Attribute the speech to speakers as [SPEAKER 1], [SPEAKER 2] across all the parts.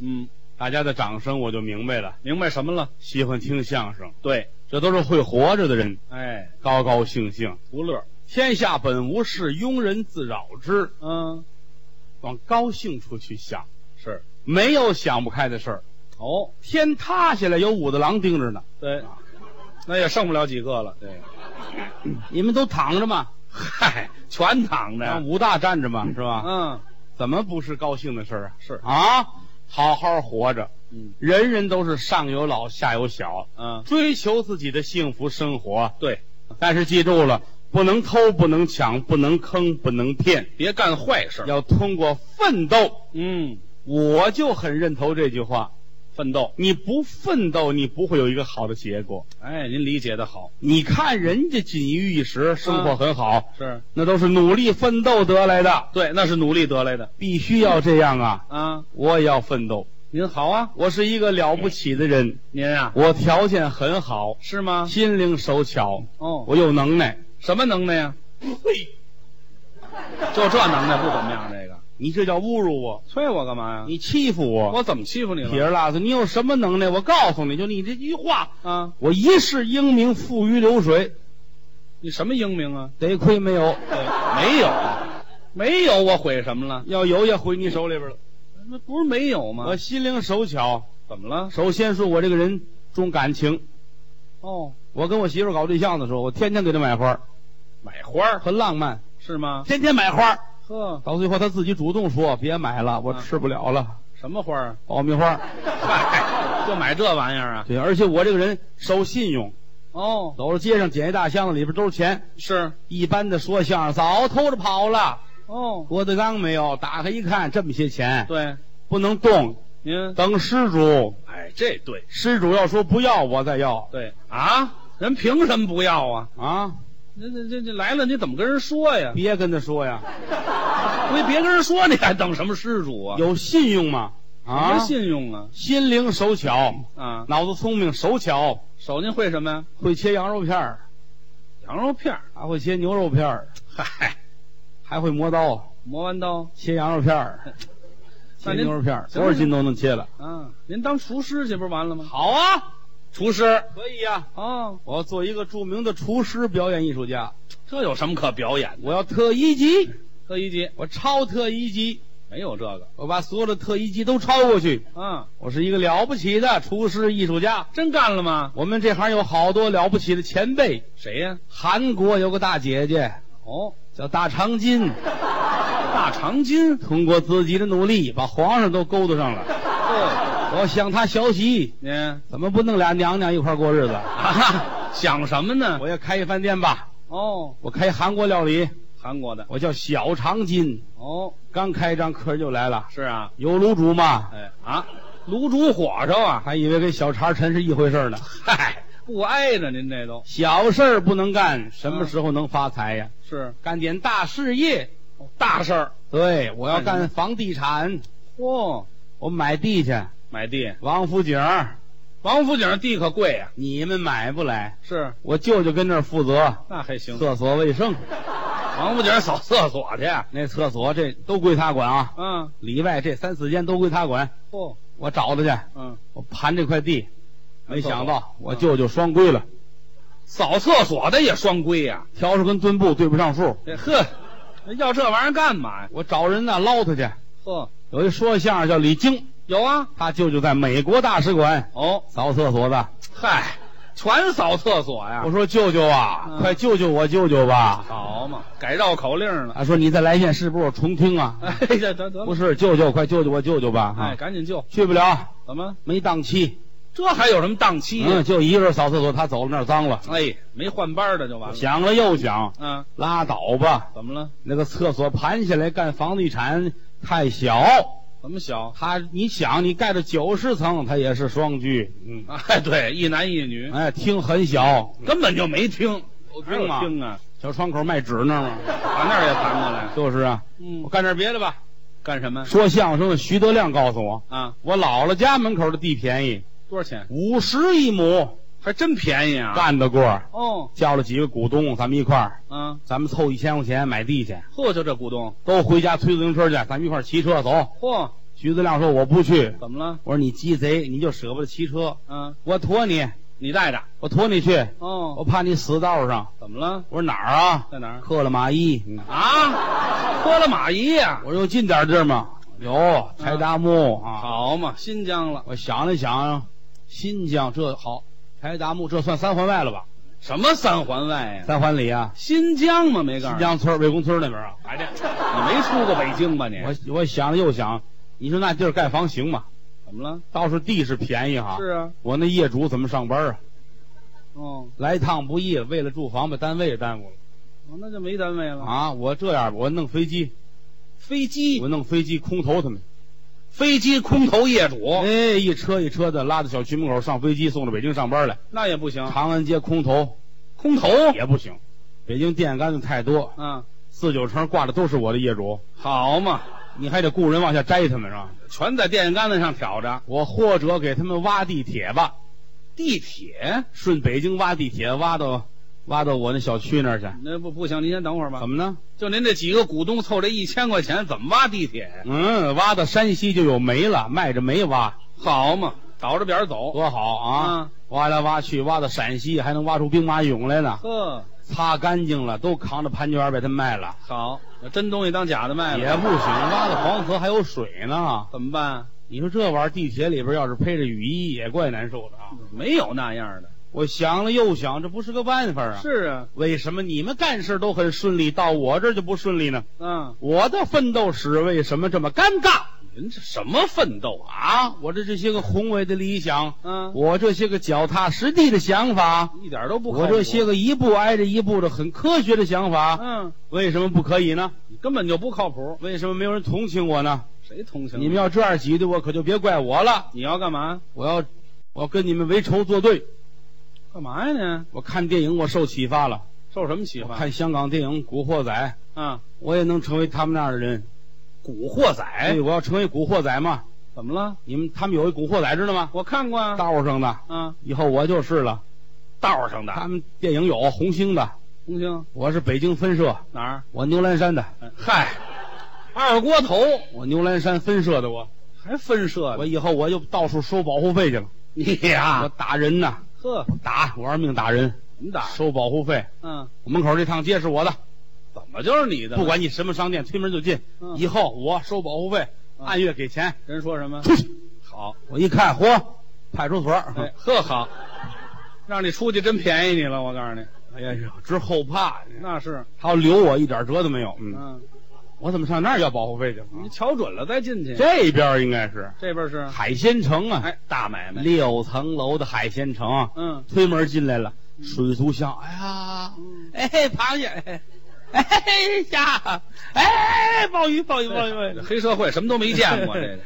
[SPEAKER 1] 嗯，
[SPEAKER 2] 大家的掌声我就明白了，
[SPEAKER 1] 明白什么了？
[SPEAKER 2] 喜欢听相声，
[SPEAKER 1] 对，
[SPEAKER 2] 这都是会活着的人，
[SPEAKER 1] 哎，
[SPEAKER 2] 高高兴兴。
[SPEAKER 1] 图乐，
[SPEAKER 2] 天下本无事，庸人自扰之。
[SPEAKER 1] 嗯，
[SPEAKER 2] 往高兴处去想，
[SPEAKER 1] 是，
[SPEAKER 2] 没有想不开的事儿。
[SPEAKER 1] 哦，
[SPEAKER 2] 天塌下来有武大郎盯着呢，
[SPEAKER 1] 对，那也剩不了几个了，对，
[SPEAKER 2] 你们都躺着嘛，
[SPEAKER 1] 嗨，全躺着
[SPEAKER 2] 让
[SPEAKER 1] 呀，
[SPEAKER 2] 武大站着嘛，是吧？
[SPEAKER 1] 嗯，
[SPEAKER 2] 怎么不是高兴的事儿啊？
[SPEAKER 1] 是，
[SPEAKER 2] 啊，好好活着，
[SPEAKER 1] 嗯
[SPEAKER 2] 人人都是上有老下有小，
[SPEAKER 1] 嗯，
[SPEAKER 2] 追求自己的幸福生活。
[SPEAKER 1] 对，
[SPEAKER 2] 但是记住了，不能偷，不能抢，不能坑，不能骗，
[SPEAKER 1] 别干坏事，
[SPEAKER 2] 要通过奋斗。
[SPEAKER 1] 嗯，
[SPEAKER 2] 我就很认同这句话：
[SPEAKER 1] 奋斗，
[SPEAKER 2] 你不奋斗，你不会有一个好的结果。
[SPEAKER 1] 哎，您理解的好，
[SPEAKER 2] 你看人家锦衣玉
[SPEAKER 1] 嗯
[SPEAKER 2] 食，生活很好，
[SPEAKER 1] 是
[SPEAKER 2] 那都是努力奋斗得来的，
[SPEAKER 1] 对，那是努力得来的
[SPEAKER 2] 必须要这样啊！
[SPEAKER 1] 啊，
[SPEAKER 2] 我也要奋斗。
[SPEAKER 1] 您好啊，
[SPEAKER 2] 我是一个了不起的人，
[SPEAKER 1] 您啊，
[SPEAKER 2] 我条件很好，
[SPEAKER 1] 是吗？
[SPEAKER 2] 心灵手巧，
[SPEAKER 1] 哦，
[SPEAKER 2] 我有能耐。
[SPEAKER 1] 什么能耐呀？就这能耐不怎么样，这个
[SPEAKER 2] 你这叫侮辱我，
[SPEAKER 1] 催我干嘛呀？
[SPEAKER 2] 你欺负我。
[SPEAKER 1] 我怎么欺负你
[SPEAKER 2] 铁
[SPEAKER 1] 了？
[SPEAKER 2] 儿辣子，你有什么能耐？我告诉你，就你这句话，
[SPEAKER 1] 啊，
[SPEAKER 2] 我一世英名付于流水，
[SPEAKER 1] 你什么英明啊？
[SPEAKER 2] 得亏没有，
[SPEAKER 1] 没有，没有，我毁什么了？
[SPEAKER 2] 要有也毁你手里边了。
[SPEAKER 1] 那不是没有吗
[SPEAKER 2] 我？心灵手巧，
[SPEAKER 1] 怎么了？
[SPEAKER 2] 首先说我这个人重感情。
[SPEAKER 1] 哦，
[SPEAKER 2] 我跟我媳妇儿搞对象的时候，我天天给她买花儿，
[SPEAKER 1] 买花儿
[SPEAKER 2] 很浪漫，
[SPEAKER 1] 是吗？
[SPEAKER 2] 天天买花儿。
[SPEAKER 1] 呵，
[SPEAKER 2] 到最后她自己主动说别买了，我
[SPEAKER 1] 嗯
[SPEAKER 2] 吃不了了，
[SPEAKER 1] 什么花儿？
[SPEAKER 2] 爆米花儿。
[SPEAKER 1] 嗨，就买这玩意儿啊？
[SPEAKER 2] 对，而且我这个人守信用，
[SPEAKER 1] 哦，
[SPEAKER 2] 走到街上捡一大箱子，里边都是钱。
[SPEAKER 1] 是，
[SPEAKER 2] 一般的说相声早偷着跑了。
[SPEAKER 1] 哦，
[SPEAKER 2] 郭德纲没有，打开一看，这么些钱，
[SPEAKER 1] 对，
[SPEAKER 2] 不能动，
[SPEAKER 1] 您，
[SPEAKER 2] 等施主，
[SPEAKER 1] 哎，这对
[SPEAKER 2] 施主要说不要，我再要
[SPEAKER 1] 对啊，人凭什么不要啊？
[SPEAKER 2] 啊！
[SPEAKER 1] 这这这这来了，你怎么跟人说呀？
[SPEAKER 2] 别跟他说呀，
[SPEAKER 1] 你别跟人说，你还等什么施主啊？
[SPEAKER 2] 有信用吗？啊，
[SPEAKER 1] 什么信用啊？
[SPEAKER 2] 心灵手巧，
[SPEAKER 1] 啊，
[SPEAKER 2] 脑子聪明，手巧，
[SPEAKER 1] 手您会什么呀？
[SPEAKER 2] 会切羊肉片儿，
[SPEAKER 1] 羊肉片儿，
[SPEAKER 2] 还会切牛肉片儿，
[SPEAKER 1] 嗨，
[SPEAKER 2] 还会磨刀，
[SPEAKER 1] 磨完刀
[SPEAKER 2] 切羊肉片儿，切
[SPEAKER 1] 那您
[SPEAKER 2] 牛肉片儿，
[SPEAKER 1] 行
[SPEAKER 2] 多少斤都能切了。
[SPEAKER 1] 啊，您当厨师去不是完了吗？
[SPEAKER 2] 好啊，
[SPEAKER 1] 厨师
[SPEAKER 2] 可以呀、
[SPEAKER 1] 哦，
[SPEAKER 2] 我要做一个著名的厨师表演艺术家，
[SPEAKER 1] 这有什么可表演的？
[SPEAKER 2] 我要特一级，
[SPEAKER 1] 特一级
[SPEAKER 2] 我超特一级。
[SPEAKER 1] 没有这个
[SPEAKER 2] 我把所有的特一级都超过去。
[SPEAKER 1] 啊，
[SPEAKER 2] 我是一个了不起的厨师艺术家。
[SPEAKER 1] 真干了吗？
[SPEAKER 2] 我们这行有好多了不起的前辈，
[SPEAKER 1] 谁呀、
[SPEAKER 2] 韩国有个大姐姐
[SPEAKER 1] 哦，
[SPEAKER 2] 叫大长今，
[SPEAKER 1] 大长今，
[SPEAKER 2] 通过自己的努力把皇上都勾搭上了。
[SPEAKER 1] 对，
[SPEAKER 2] 我想她学习，
[SPEAKER 1] 您
[SPEAKER 2] 怎么不弄俩娘娘一块儿过日子？
[SPEAKER 1] 啊哈，想什么呢？
[SPEAKER 2] 我要开一饭店吧，
[SPEAKER 1] 哦，
[SPEAKER 2] 我开韩国料理，
[SPEAKER 1] 韩国的
[SPEAKER 2] 我叫小长今。
[SPEAKER 1] 哦，
[SPEAKER 2] 刚开张，客人就来了，
[SPEAKER 1] 是啊，
[SPEAKER 2] 有卤煮吗？
[SPEAKER 1] 哎啊，炉煮火烧啊，
[SPEAKER 2] 还以为跟小茶陈是一回事儿呢。
[SPEAKER 1] 嗨，不挨着您这都
[SPEAKER 2] 小事儿不能干，什么时候能发财呀？
[SPEAKER 1] 是
[SPEAKER 2] 干点大事业。
[SPEAKER 1] 大事儿。
[SPEAKER 2] 啊对，我要
[SPEAKER 1] 干什
[SPEAKER 2] 干房地产，
[SPEAKER 1] 嚯、
[SPEAKER 2] 我买地去。
[SPEAKER 1] 哦买地，
[SPEAKER 2] 王府井，
[SPEAKER 1] 王府井地可贵啊呀、
[SPEAKER 2] 你们买不来，
[SPEAKER 1] 是，
[SPEAKER 2] 我舅舅跟那儿负责
[SPEAKER 1] 那还行。
[SPEAKER 2] 厕所卫生，
[SPEAKER 1] 王府井扫厕所去，
[SPEAKER 2] 那厕所这都归他管啊，
[SPEAKER 1] 嗯，
[SPEAKER 2] 里外这三四间都归他管。
[SPEAKER 1] 嚯、
[SPEAKER 2] 我找他去，
[SPEAKER 1] 哦嗯，
[SPEAKER 2] 我盘这块地，
[SPEAKER 1] 还
[SPEAKER 2] 没想到我
[SPEAKER 1] 嗯
[SPEAKER 2] 舅舅双规了，
[SPEAKER 1] 扫厕所的也双规呀、
[SPEAKER 2] 笤帚跟墩布对不上数，
[SPEAKER 1] 这呵，那要这玩意儿干嘛呀？
[SPEAKER 2] 我找人呐捞他去。
[SPEAKER 1] 呵，
[SPEAKER 2] 有一说相声叫李菁，
[SPEAKER 1] 有啊，
[SPEAKER 2] 他舅舅在美国大使馆
[SPEAKER 1] 哦，
[SPEAKER 2] 扫厕所的。
[SPEAKER 1] 嗨，全扫厕所呀
[SPEAKER 2] 我，说舅舅啊，
[SPEAKER 1] 嗯
[SPEAKER 2] 快救救我舅舅吧！啊
[SPEAKER 1] 好嘛，改绕口令了。
[SPEAKER 2] 他说你再来一遍是不是我重听啊？
[SPEAKER 1] 哎，这得得
[SPEAKER 2] 不
[SPEAKER 1] 了，
[SPEAKER 2] 是，舅舅，快救救我舅舅吧！
[SPEAKER 1] 哎，
[SPEAKER 2] 啊，
[SPEAKER 1] 赶紧救！
[SPEAKER 2] 去不了，
[SPEAKER 1] 怎么？
[SPEAKER 2] 没档期。
[SPEAKER 1] 这还有什么档期呀
[SPEAKER 2] 嗯，？就一个人扫厕所，他走了那儿脏了。
[SPEAKER 1] 哎，没换班的就完了。
[SPEAKER 2] 想了又想，
[SPEAKER 1] 嗯，
[SPEAKER 2] 拉倒吧，
[SPEAKER 1] 怎么了？
[SPEAKER 2] 那个厕所盘下来干房地产太小。
[SPEAKER 1] 怎么小？
[SPEAKER 2] 他，你想，你盖到九十层，他也是双居，嗯，
[SPEAKER 1] 哎，对，一男一女，
[SPEAKER 2] 哎，厅很小，
[SPEAKER 1] 根本就没听，
[SPEAKER 2] 有
[SPEAKER 1] 哪有听啊？
[SPEAKER 2] 小窗口卖纸那儿吗？
[SPEAKER 1] 打那儿也盘过来。
[SPEAKER 2] 就是啊，
[SPEAKER 1] 嗯
[SPEAKER 2] 我，干点别的吧。
[SPEAKER 1] 干什么
[SPEAKER 2] 说相声的徐德亮告诉我，
[SPEAKER 1] 啊？
[SPEAKER 2] 我姥姥家门口的地便宜，
[SPEAKER 1] 多少钱？
[SPEAKER 2] 五十一亩，
[SPEAKER 1] 还真便宜啊！
[SPEAKER 2] 干得过。
[SPEAKER 1] 哦，
[SPEAKER 2] 叫了几个股东，咱们一块儿，
[SPEAKER 1] 嗯，
[SPEAKER 2] 咱们凑一千块钱买地去，
[SPEAKER 1] 嚯，就这股东，
[SPEAKER 2] 都回家推自行车去，咱们一块儿骑车走
[SPEAKER 1] 嚯，
[SPEAKER 2] 徐子亮说我不去，
[SPEAKER 1] 怎么了？
[SPEAKER 2] 我说你鸡贼，你就舍不得骑车，
[SPEAKER 1] 嗯，
[SPEAKER 2] 我驮你，
[SPEAKER 1] 你带着。
[SPEAKER 2] 我驮你去，我
[SPEAKER 1] 哦，
[SPEAKER 2] 怕你死道上。
[SPEAKER 1] 怎么了？
[SPEAKER 2] 我说哪儿啊？
[SPEAKER 1] 在哪儿？
[SPEAKER 2] 克了马伊。嗯
[SPEAKER 1] 啊，脱了马衣呀、
[SPEAKER 2] 我说有近点地儿吗？有，柴达木啊。
[SPEAKER 1] 好嘛，新疆了，
[SPEAKER 2] 我想了想，新疆这好，柴达木这算三环外了吧？
[SPEAKER 1] 什么三环外呀、
[SPEAKER 2] 三环里啊，
[SPEAKER 1] 新疆嘛，没告诉
[SPEAKER 2] 新
[SPEAKER 1] 你。
[SPEAKER 2] 疆村儿魏公村儿那边啊。
[SPEAKER 1] 哎，这你没出过北京吧你？
[SPEAKER 2] 我我想了又想，你说那地儿盖房行吗？
[SPEAKER 1] 怎么了？
[SPEAKER 2] 倒是地是便宜哈。
[SPEAKER 1] 是啊，
[SPEAKER 2] 我那业主怎么上班啊？
[SPEAKER 1] 哦，
[SPEAKER 2] 来一趟不易，为了住房把单位也耽误了
[SPEAKER 1] 哦那就没单位了。
[SPEAKER 2] 啊！我这样吧，我弄飞机，
[SPEAKER 1] 飞机，
[SPEAKER 2] 我弄飞机空投他们，
[SPEAKER 1] 飞 机空投业主
[SPEAKER 2] 哎，一车一车的拉到小区门口上飞机，送到北京上班来。
[SPEAKER 1] 那也不行，
[SPEAKER 2] 长安街空投
[SPEAKER 1] 空投
[SPEAKER 2] 也不行，北京电线杆子太多，
[SPEAKER 1] 啊，
[SPEAKER 2] 四九城挂的都是我的业主，
[SPEAKER 1] 好嘛，
[SPEAKER 2] 你还得雇人往下摘他们是吧？
[SPEAKER 1] 全在电线杆子上挑着。
[SPEAKER 2] 我或者给他们挖地铁吧，
[SPEAKER 1] 地铁
[SPEAKER 2] 顺北京挖地铁，挖到挖到我那小区那儿去。
[SPEAKER 1] 那不不行，您先等会儿吧
[SPEAKER 2] 怎。么呢？
[SPEAKER 1] 就您这几个股东凑这一千块钱，怎么挖地铁呀？
[SPEAKER 2] 嗯，挖到山西就有煤了，卖着煤挖，
[SPEAKER 1] 好嘛，倒着点走。
[SPEAKER 2] 多好啊！
[SPEAKER 1] 嗯
[SPEAKER 2] 挖来挖去，挖到陕西还能挖出兵马俑来呢。
[SPEAKER 1] 呵，
[SPEAKER 2] 擦干净了，都扛着盘卷儿被他卖了，
[SPEAKER 1] 好，真东西当假的卖了，
[SPEAKER 2] 也不行。挖到黄河还有水呢。
[SPEAKER 1] 怎么办？
[SPEAKER 2] 你说这玩意儿，地铁里边要是披着雨衣，也怪难受的啊！
[SPEAKER 1] 没有那样的。
[SPEAKER 2] 我想了又想，这不是个办法啊！
[SPEAKER 1] 是啊，
[SPEAKER 2] 为什么你们干事都很顺利，到我这儿就不顺利呢？
[SPEAKER 1] 嗯，
[SPEAKER 2] 我的奋斗史为什么这么尴尬
[SPEAKER 1] 您这什么奋斗啊？
[SPEAKER 2] 啊？我的这些个宏伟的理想，
[SPEAKER 1] 嗯，
[SPEAKER 2] 我这些个脚踏实地的想法，
[SPEAKER 1] 一点都不靠谱。
[SPEAKER 2] 我这些个一步挨着一步的很科学的想法，
[SPEAKER 1] 嗯，
[SPEAKER 2] 为什么不可以呢？
[SPEAKER 1] 你根本就不靠谱，
[SPEAKER 2] 为什么没有人同情我呢？
[SPEAKER 1] 谁同情
[SPEAKER 2] 你们要这样挤兑我，可就别怪我了。
[SPEAKER 1] 你要干嘛？
[SPEAKER 2] 我要，我要跟你们为仇作对。
[SPEAKER 1] 干嘛呀你？
[SPEAKER 2] 我看电影，我受启发了。
[SPEAKER 1] 受什么启
[SPEAKER 2] 我
[SPEAKER 1] 发？
[SPEAKER 2] 看香港电影《古惑仔》，
[SPEAKER 1] 啊，
[SPEAKER 2] 我也能成为他们那样的人。
[SPEAKER 1] 古惑仔
[SPEAKER 2] 哎，我要成为古惑仔嘛？
[SPEAKER 1] 怎么了？
[SPEAKER 2] 你们他们有一古惑仔知道吗？
[SPEAKER 1] 我看过啊，
[SPEAKER 2] 道上的，
[SPEAKER 1] 啊，
[SPEAKER 2] 以后我就是了。
[SPEAKER 1] 道上的
[SPEAKER 2] 他们电影有红星的，
[SPEAKER 1] 红星
[SPEAKER 2] 我是北京分社，
[SPEAKER 1] 哪儿？
[SPEAKER 2] 我牛栏山的，
[SPEAKER 1] 嗨，二锅头
[SPEAKER 2] 我牛栏山分社的我。
[SPEAKER 1] 还分社
[SPEAKER 2] 我
[SPEAKER 1] 呢？
[SPEAKER 2] 以后我就到处收保护费去了。
[SPEAKER 1] 你
[SPEAKER 2] 我
[SPEAKER 1] 呀，
[SPEAKER 2] 打人呐，
[SPEAKER 1] 呵，
[SPEAKER 2] 打，我玩命打人，
[SPEAKER 1] 你打，
[SPEAKER 2] 收保护费。
[SPEAKER 1] 嗯，
[SPEAKER 2] 我门口这趟街是我的，
[SPEAKER 1] 怎么就是你的？
[SPEAKER 2] 不管你什么商店，推门就进。
[SPEAKER 1] 嗯
[SPEAKER 2] 以后我收保护费，
[SPEAKER 1] 嗯
[SPEAKER 2] 按月给钱。
[SPEAKER 1] 人说什么？
[SPEAKER 2] 出去！
[SPEAKER 1] 好，
[SPEAKER 2] 我一看，嚯，派出所。
[SPEAKER 1] 哎，呵好，让你出去真便宜你了，我告诉你，
[SPEAKER 2] 哎呀，直后怕，
[SPEAKER 1] 那是，
[SPEAKER 2] 他要留我一点辙都没有。嗯，
[SPEAKER 1] 嗯，
[SPEAKER 2] 我怎么上那儿要保护费去？
[SPEAKER 1] 你瞧准了再进去。
[SPEAKER 2] 这边应该是
[SPEAKER 1] 这边是，
[SPEAKER 2] 海鲜城啊，
[SPEAKER 1] 哎，大买卖，
[SPEAKER 2] 六层楼的海鲜城。啊
[SPEAKER 1] 嗯，
[SPEAKER 2] 推门进来了，水族箱，哎呀，哎，螃蟹，哎，哎虾，哎，鲍鱼，鲍鱼，鲍鱼，鲍鱼，
[SPEAKER 1] 黑社会什么都没 见过，这个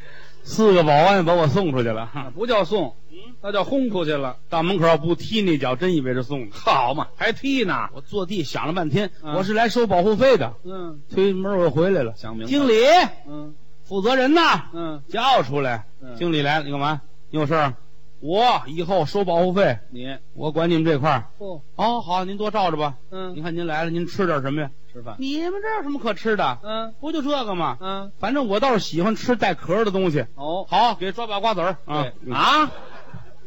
[SPEAKER 2] 四个保安把我送出去了，嗯
[SPEAKER 1] 不叫送，那叫轰出去了，
[SPEAKER 2] 到门口不踢那脚，真以为是送的。
[SPEAKER 1] 好嘛，还踢呢，
[SPEAKER 2] 我坐地想了半天，
[SPEAKER 1] 嗯
[SPEAKER 2] 我是来收保护费的。
[SPEAKER 1] 嗯
[SPEAKER 2] 推门我又回来了，
[SPEAKER 1] 想明白
[SPEAKER 2] 经理，
[SPEAKER 1] 嗯
[SPEAKER 2] 负责人呢？
[SPEAKER 1] 嗯，
[SPEAKER 2] 叫出来。
[SPEAKER 1] 嗯
[SPEAKER 2] 经理来了，你干嘛？你有事儿？我以后收保护费，
[SPEAKER 1] 你
[SPEAKER 2] 我管你们这块儿。
[SPEAKER 1] 不，
[SPEAKER 2] 哦，好，您多照着吧。您
[SPEAKER 1] 嗯，
[SPEAKER 2] 看您来了，您吃点什么呀？
[SPEAKER 1] 吃饭，
[SPEAKER 2] 你们这儿有什么可吃的？
[SPEAKER 1] 嗯
[SPEAKER 2] 不就这个吗？
[SPEAKER 1] 嗯，
[SPEAKER 2] 反正我倒是喜欢吃带壳儿的东西。
[SPEAKER 1] 哦，
[SPEAKER 2] 好，给抓把瓜子儿啊
[SPEAKER 1] 对！啊，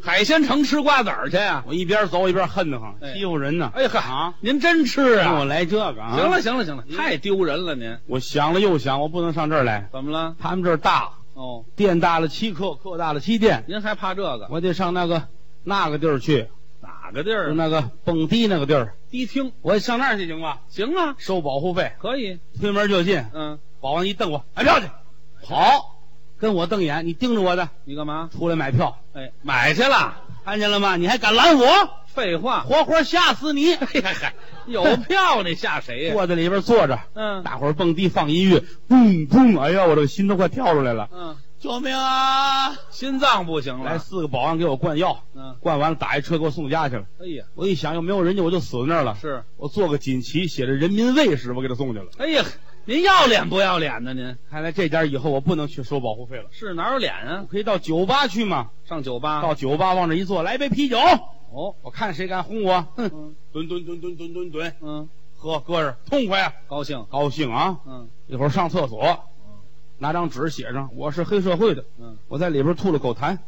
[SPEAKER 1] 海鲜城吃瓜子儿去啊，
[SPEAKER 2] 我一边走一边恨得慌，
[SPEAKER 1] 哎
[SPEAKER 2] 欺负人呢。
[SPEAKER 1] 哎呵
[SPEAKER 2] 啊，
[SPEAKER 1] 您真吃
[SPEAKER 2] 让
[SPEAKER 1] 啊
[SPEAKER 2] 我？来这个啊！
[SPEAKER 1] 行，了行了行了，太丢人了您，
[SPEAKER 2] 我想了又想，我不能上这儿来。
[SPEAKER 1] 怎么了？
[SPEAKER 2] 他们这儿大，
[SPEAKER 1] 哦，
[SPEAKER 2] 店大了七克，克大了七店，
[SPEAKER 1] 您还怕这个？
[SPEAKER 2] 我得上那个那个地儿去，
[SPEAKER 1] 哪个地
[SPEAKER 2] 就
[SPEAKER 1] 儿？
[SPEAKER 2] 那个蹦迪那个地儿，
[SPEAKER 1] 迪厅
[SPEAKER 2] 我上那儿去行吗？
[SPEAKER 1] 行啊，
[SPEAKER 2] 收保护费，
[SPEAKER 1] 可以，
[SPEAKER 2] 推门就进，
[SPEAKER 1] 嗯，
[SPEAKER 2] 保安一瞪我，买票去。好，跟我瞪眼，你盯着我的，
[SPEAKER 1] 你干嘛？
[SPEAKER 2] 出来买票，
[SPEAKER 1] 哎，买去了，
[SPEAKER 2] 看见了吗？你还敢拦我，
[SPEAKER 1] 废话，
[SPEAKER 2] 活活吓死你！
[SPEAKER 1] 哎呀 嗨，有票你吓谁呀？
[SPEAKER 2] 坐在里边坐着，
[SPEAKER 1] 嗯
[SPEAKER 2] 大伙儿蹦迪放音乐，嘣嘣，哎呀，我这个心都快跳出来了！
[SPEAKER 1] 嗯，
[SPEAKER 2] 救命啊！
[SPEAKER 1] 心脏不行
[SPEAKER 2] 来
[SPEAKER 1] 了，
[SPEAKER 2] 四个保安给我灌药，
[SPEAKER 1] 嗯，
[SPEAKER 2] 灌完了打一车给我送家去了。
[SPEAKER 1] 哎呀，
[SPEAKER 2] 我一想又没有人家，我就死在那儿了。
[SPEAKER 1] 是，
[SPEAKER 2] 我做个锦旗，写着“人民卫士”，我给他送去了。
[SPEAKER 1] 哎呀，您要脸不要脸呢？您
[SPEAKER 2] 看来这家以后我不能去收保护费了，
[SPEAKER 1] 是哪有脸啊
[SPEAKER 2] 我？可以到酒吧去嘛？
[SPEAKER 1] 上酒吧
[SPEAKER 2] 到酒吧往这一坐，来杯啤酒，
[SPEAKER 1] 哦，
[SPEAKER 2] 我看谁敢轰我！哼，
[SPEAKER 1] 嗯
[SPEAKER 2] 吨吨吨吨吨吨吨，
[SPEAKER 1] 嗯，
[SPEAKER 2] 喝搁着，痛快啊，
[SPEAKER 1] 高兴，
[SPEAKER 2] 高兴啊！
[SPEAKER 1] 嗯，
[SPEAKER 2] 一会儿上厕所，拿张纸写上我是黑社会的，
[SPEAKER 1] 嗯，
[SPEAKER 2] 我在里边吐了口痰，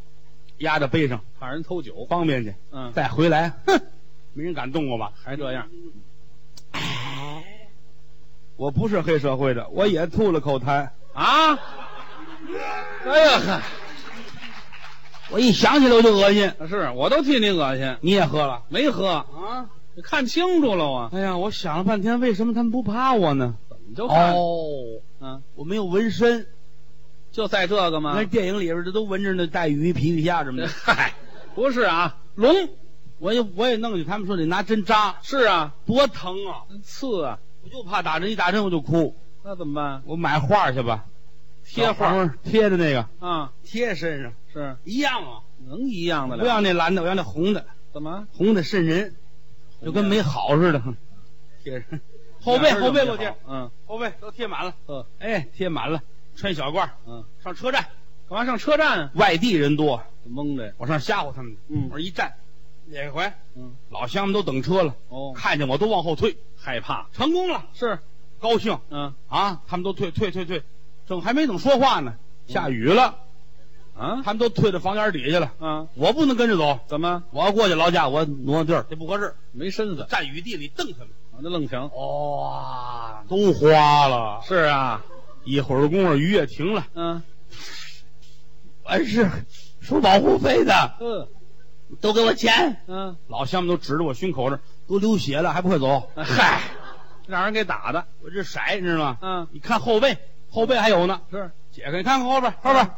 [SPEAKER 2] 压在背上
[SPEAKER 1] 怕人偷酒，
[SPEAKER 2] 方便去，
[SPEAKER 1] 嗯，
[SPEAKER 2] 再回来，哼，没人敢动我吧？
[SPEAKER 1] 还 这样，
[SPEAKER 2] 我不是黑社会的，我也吐了口痰。
[SPEAKER 1] 啊！哎呀
[SPEAKER 2] 我一想起来我就恶心。
[SPEAKER 1] 呵，是我都替你恶心，
[SPEAKER 2] 你也喝了
[SPEAKER 1] 没喝，
[SPEAKER 2] 啊？
[SPEAKER 1] 你看清楚了啊！
[SPEAKER 2] 哎呀，我想了半天，为什么他们不怕我呢？
[SPEAKER 1] 你就看，
[SPEAKER 2] 哦，
[SPEAKER 1] 嗯，
[SPEAKER 2] 我没有纹身，
[SPEAKER 1] 就在这个吗
[SPEAKER 2] 那？电影里边这都纹着那带鱼、皮皮虾什么的。
[SPEAKER 1] 嗨， 不是啊，龙
[SPEAKER 2] 我也我也弄去，他们说得拿针扎，
[SPEAKER 1] 是啊，
[SPEAKER 2] 多疼啊！
[SPEAKER 1] 刺啊，
[SPEAKER 2] 我就怕打针，一打针我就哭。
[SPEAKER 1] 那怎么办？
[SPEAKER 2] 我买画去吧，
[SPEAKER 1] 贴
[SPEAKER 2] 小
[SPEAKER 1] 画
[SPEAKER 2] 黄贴的那个，
[SPEAKER 1] 啊，
[SPEAKER 2] 贴身上
[SPEAKER 1] 是
[SPEAKER 2] 一样啊。
[SPEAKER 1] 能一样的
[SPEAKER 2] 不
[SPEAKER 1] 了？
[SPEAKER 2] 要那蓝的，我要那红的，
[SPEAKER 1] 怎么？
[SPEAKER 2] 红的瘆人，就跟没好似的。哼贴上后背后背给我贴，，
[SPEAKER 1] 嗯，
[SPEAKER 2] 后背都贴满了。
[SPEAKER 1] 嗯，
[SPEAKER 2] 哎，贴满了，穿小褂，
[SPEAKER 1] 嗯，
[SPEAKER 2] 上车站，
[SPEAKER 1] 干嘛上车站啊？
[SPEAKER 2] 外地人多，
[SPEAKER 1] 蒙着呀，
[SPEAKER 2] 我上吓唬他们去。
[SPEAKER 1] 嗯
[SPEAKER 2] 我说一站，哪回？
[SPEAKER 1] 嗯，
[SPEAKER 2] 老乡们都等车了，
[SPEAKER 1] 哦，
[SPEAKER 2] 看见我都往后退，
[SPEAKER 1] 害怕
[SPEAKER 2] 成功了，
[SPEAKER 1] 是，
[SPEAKER 2] 高兴
[SPEAKER 1] 嗯
[SPEAKER 2] 啊！他们都退退退退，正还没等说话呢，下雨了，
[SPEAKER 1] 啊
[SPEAKER 2] 他们都退到房檐底下去了。
[SPEAKER 1] 啊，
[SPEAKER 2] 我不能跟着走，
[SPEAKER 1] 怎么
[SPEAKER 2] 我要过去劳驾，我挪挪地儿，这不合适。
[SPEAKER 1] 没身子？
[SPEAKER 2] 站雨地里瞪他们，
[SPEAKER 1] 我那愣墙
[SPEAKER 2] 哇，都花了。
[SPEAKER 1] 是啊，
[SPEAKER 2] 一会儿功夫雨也停了，
[SPEAKER 1] 嗯
[SPEAKER 2] 完事收保护费的，
[SPEAKER 1] 嗯
[SPEAKER 2] 都给我钱。
[SPEAKER 1] 嗯，
[SPEAKER 2] 老乡们都指着我胸口这儿，都流血了，还不快走？ 嗨，
[SPEAKER 1] 让人给打的，
[SPEAKER 2] 我这色你知道吗？
[SPEAKER 1] 嗯
[SPEAKER 2] 你看后背，后背还有呢。
[SPEAKER 1] 是
[SPEAKER 2] 解开，你看看后边，后边，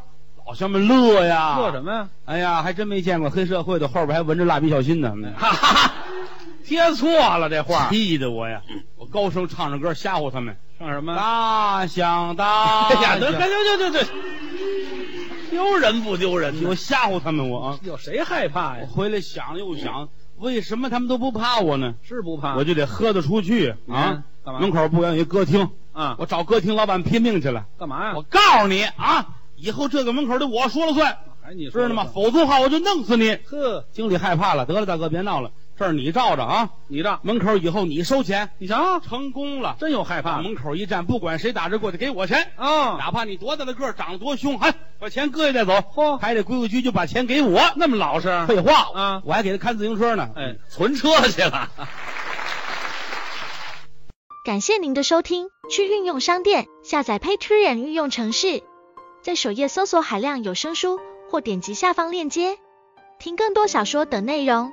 [SPEAKER 2] 老乡们嗯乐呀，
[SPEAKER 1] 做什？么呀？
[SPEAKER 2] 哎呀，还真没见过黑社会的，后边还纹着蜡笔小新 呢，
[SPEAKER 1] 哈哈哈，贴错了这画，
[SPEAKER 2] 气得我呀！嗯我高声唱着歌吓唬他们。
[SPEAKER 1] 上什么？
[SPEAKER 2] 大响大
[SPEAKER 1] 哎呀，
[SPEAKER 2] 响，
[SPEAKER 1] 得得得得得得，丢人不丢人呢
[SPEAKER 2] 我？吓唬他们，我啊，
[SPEAKER 1] 有谁害怕
[SPEAKER 2] 我
[SPEAKER 1] 呀？
[SPEAKER 2] 回来想了又想，为什么他们都不怕我呢？
[SPEAKER 1] 是不怕？
[SPEAKER 2] 我就得喝得出去啊
[SPEAKER 1] 嗯！干嘛
[SPEAKER 2] 门口不远有一歌厅，
[SPEAKER 1] 啊，
[SPEAKER 2] 我找歌厅老板拼命去了。
[SPEAKER 1] 干嘛呀？
[SPEAKER 2] 我告诉你啊，以后这个门口得我说了算，
[SPEAKER 1] 还哎你
[SPEAKER 2] 知道吗？
[SPEAKER 1] 吗？
[SPEAKER 2] 否则的话我就弄死你。
[SPEAKER 1] 呵，
[SPEAKER 2] 经理害怕了，得了，大哥别闹了，这儿你罩着啊。
[SPEAKER 1] 你这
[SPEAKER 2] 门口以后你收钱，
[SPEAKER 1] 你瞧，
[SPEAKER 2] 成功了。
[SPEAKER 1] 真有害怕
[SPEAKER 2] 往
[SPEAKER 1] 的
[SPEAKER 2] 门口一站，不管谁打着过去，给我钱。
[SPEAKER 1] 啊！
[SPEAKER 2] 哪怕你多大的个儿，长得多凶，哎，把钱搁下再走，
[SPEAKER 1] 嚯
[SPEAKER 2] 还得规规矩矩把钱给我。
[SPEAKER 1] 那么老实，
[SPEAKER 2] 废话
[SPEAKER 1] 啊
[SPEAKER 2] 我还给他看自行车呢。嗯
[SPEAKER 1] 哎，存车去了。
[SPEAKER 3] 感谢您的收听，去运用商店下载 Patreon 运用城市，在首页搜索海量有声书，或点击下方链接听更多小说等内容。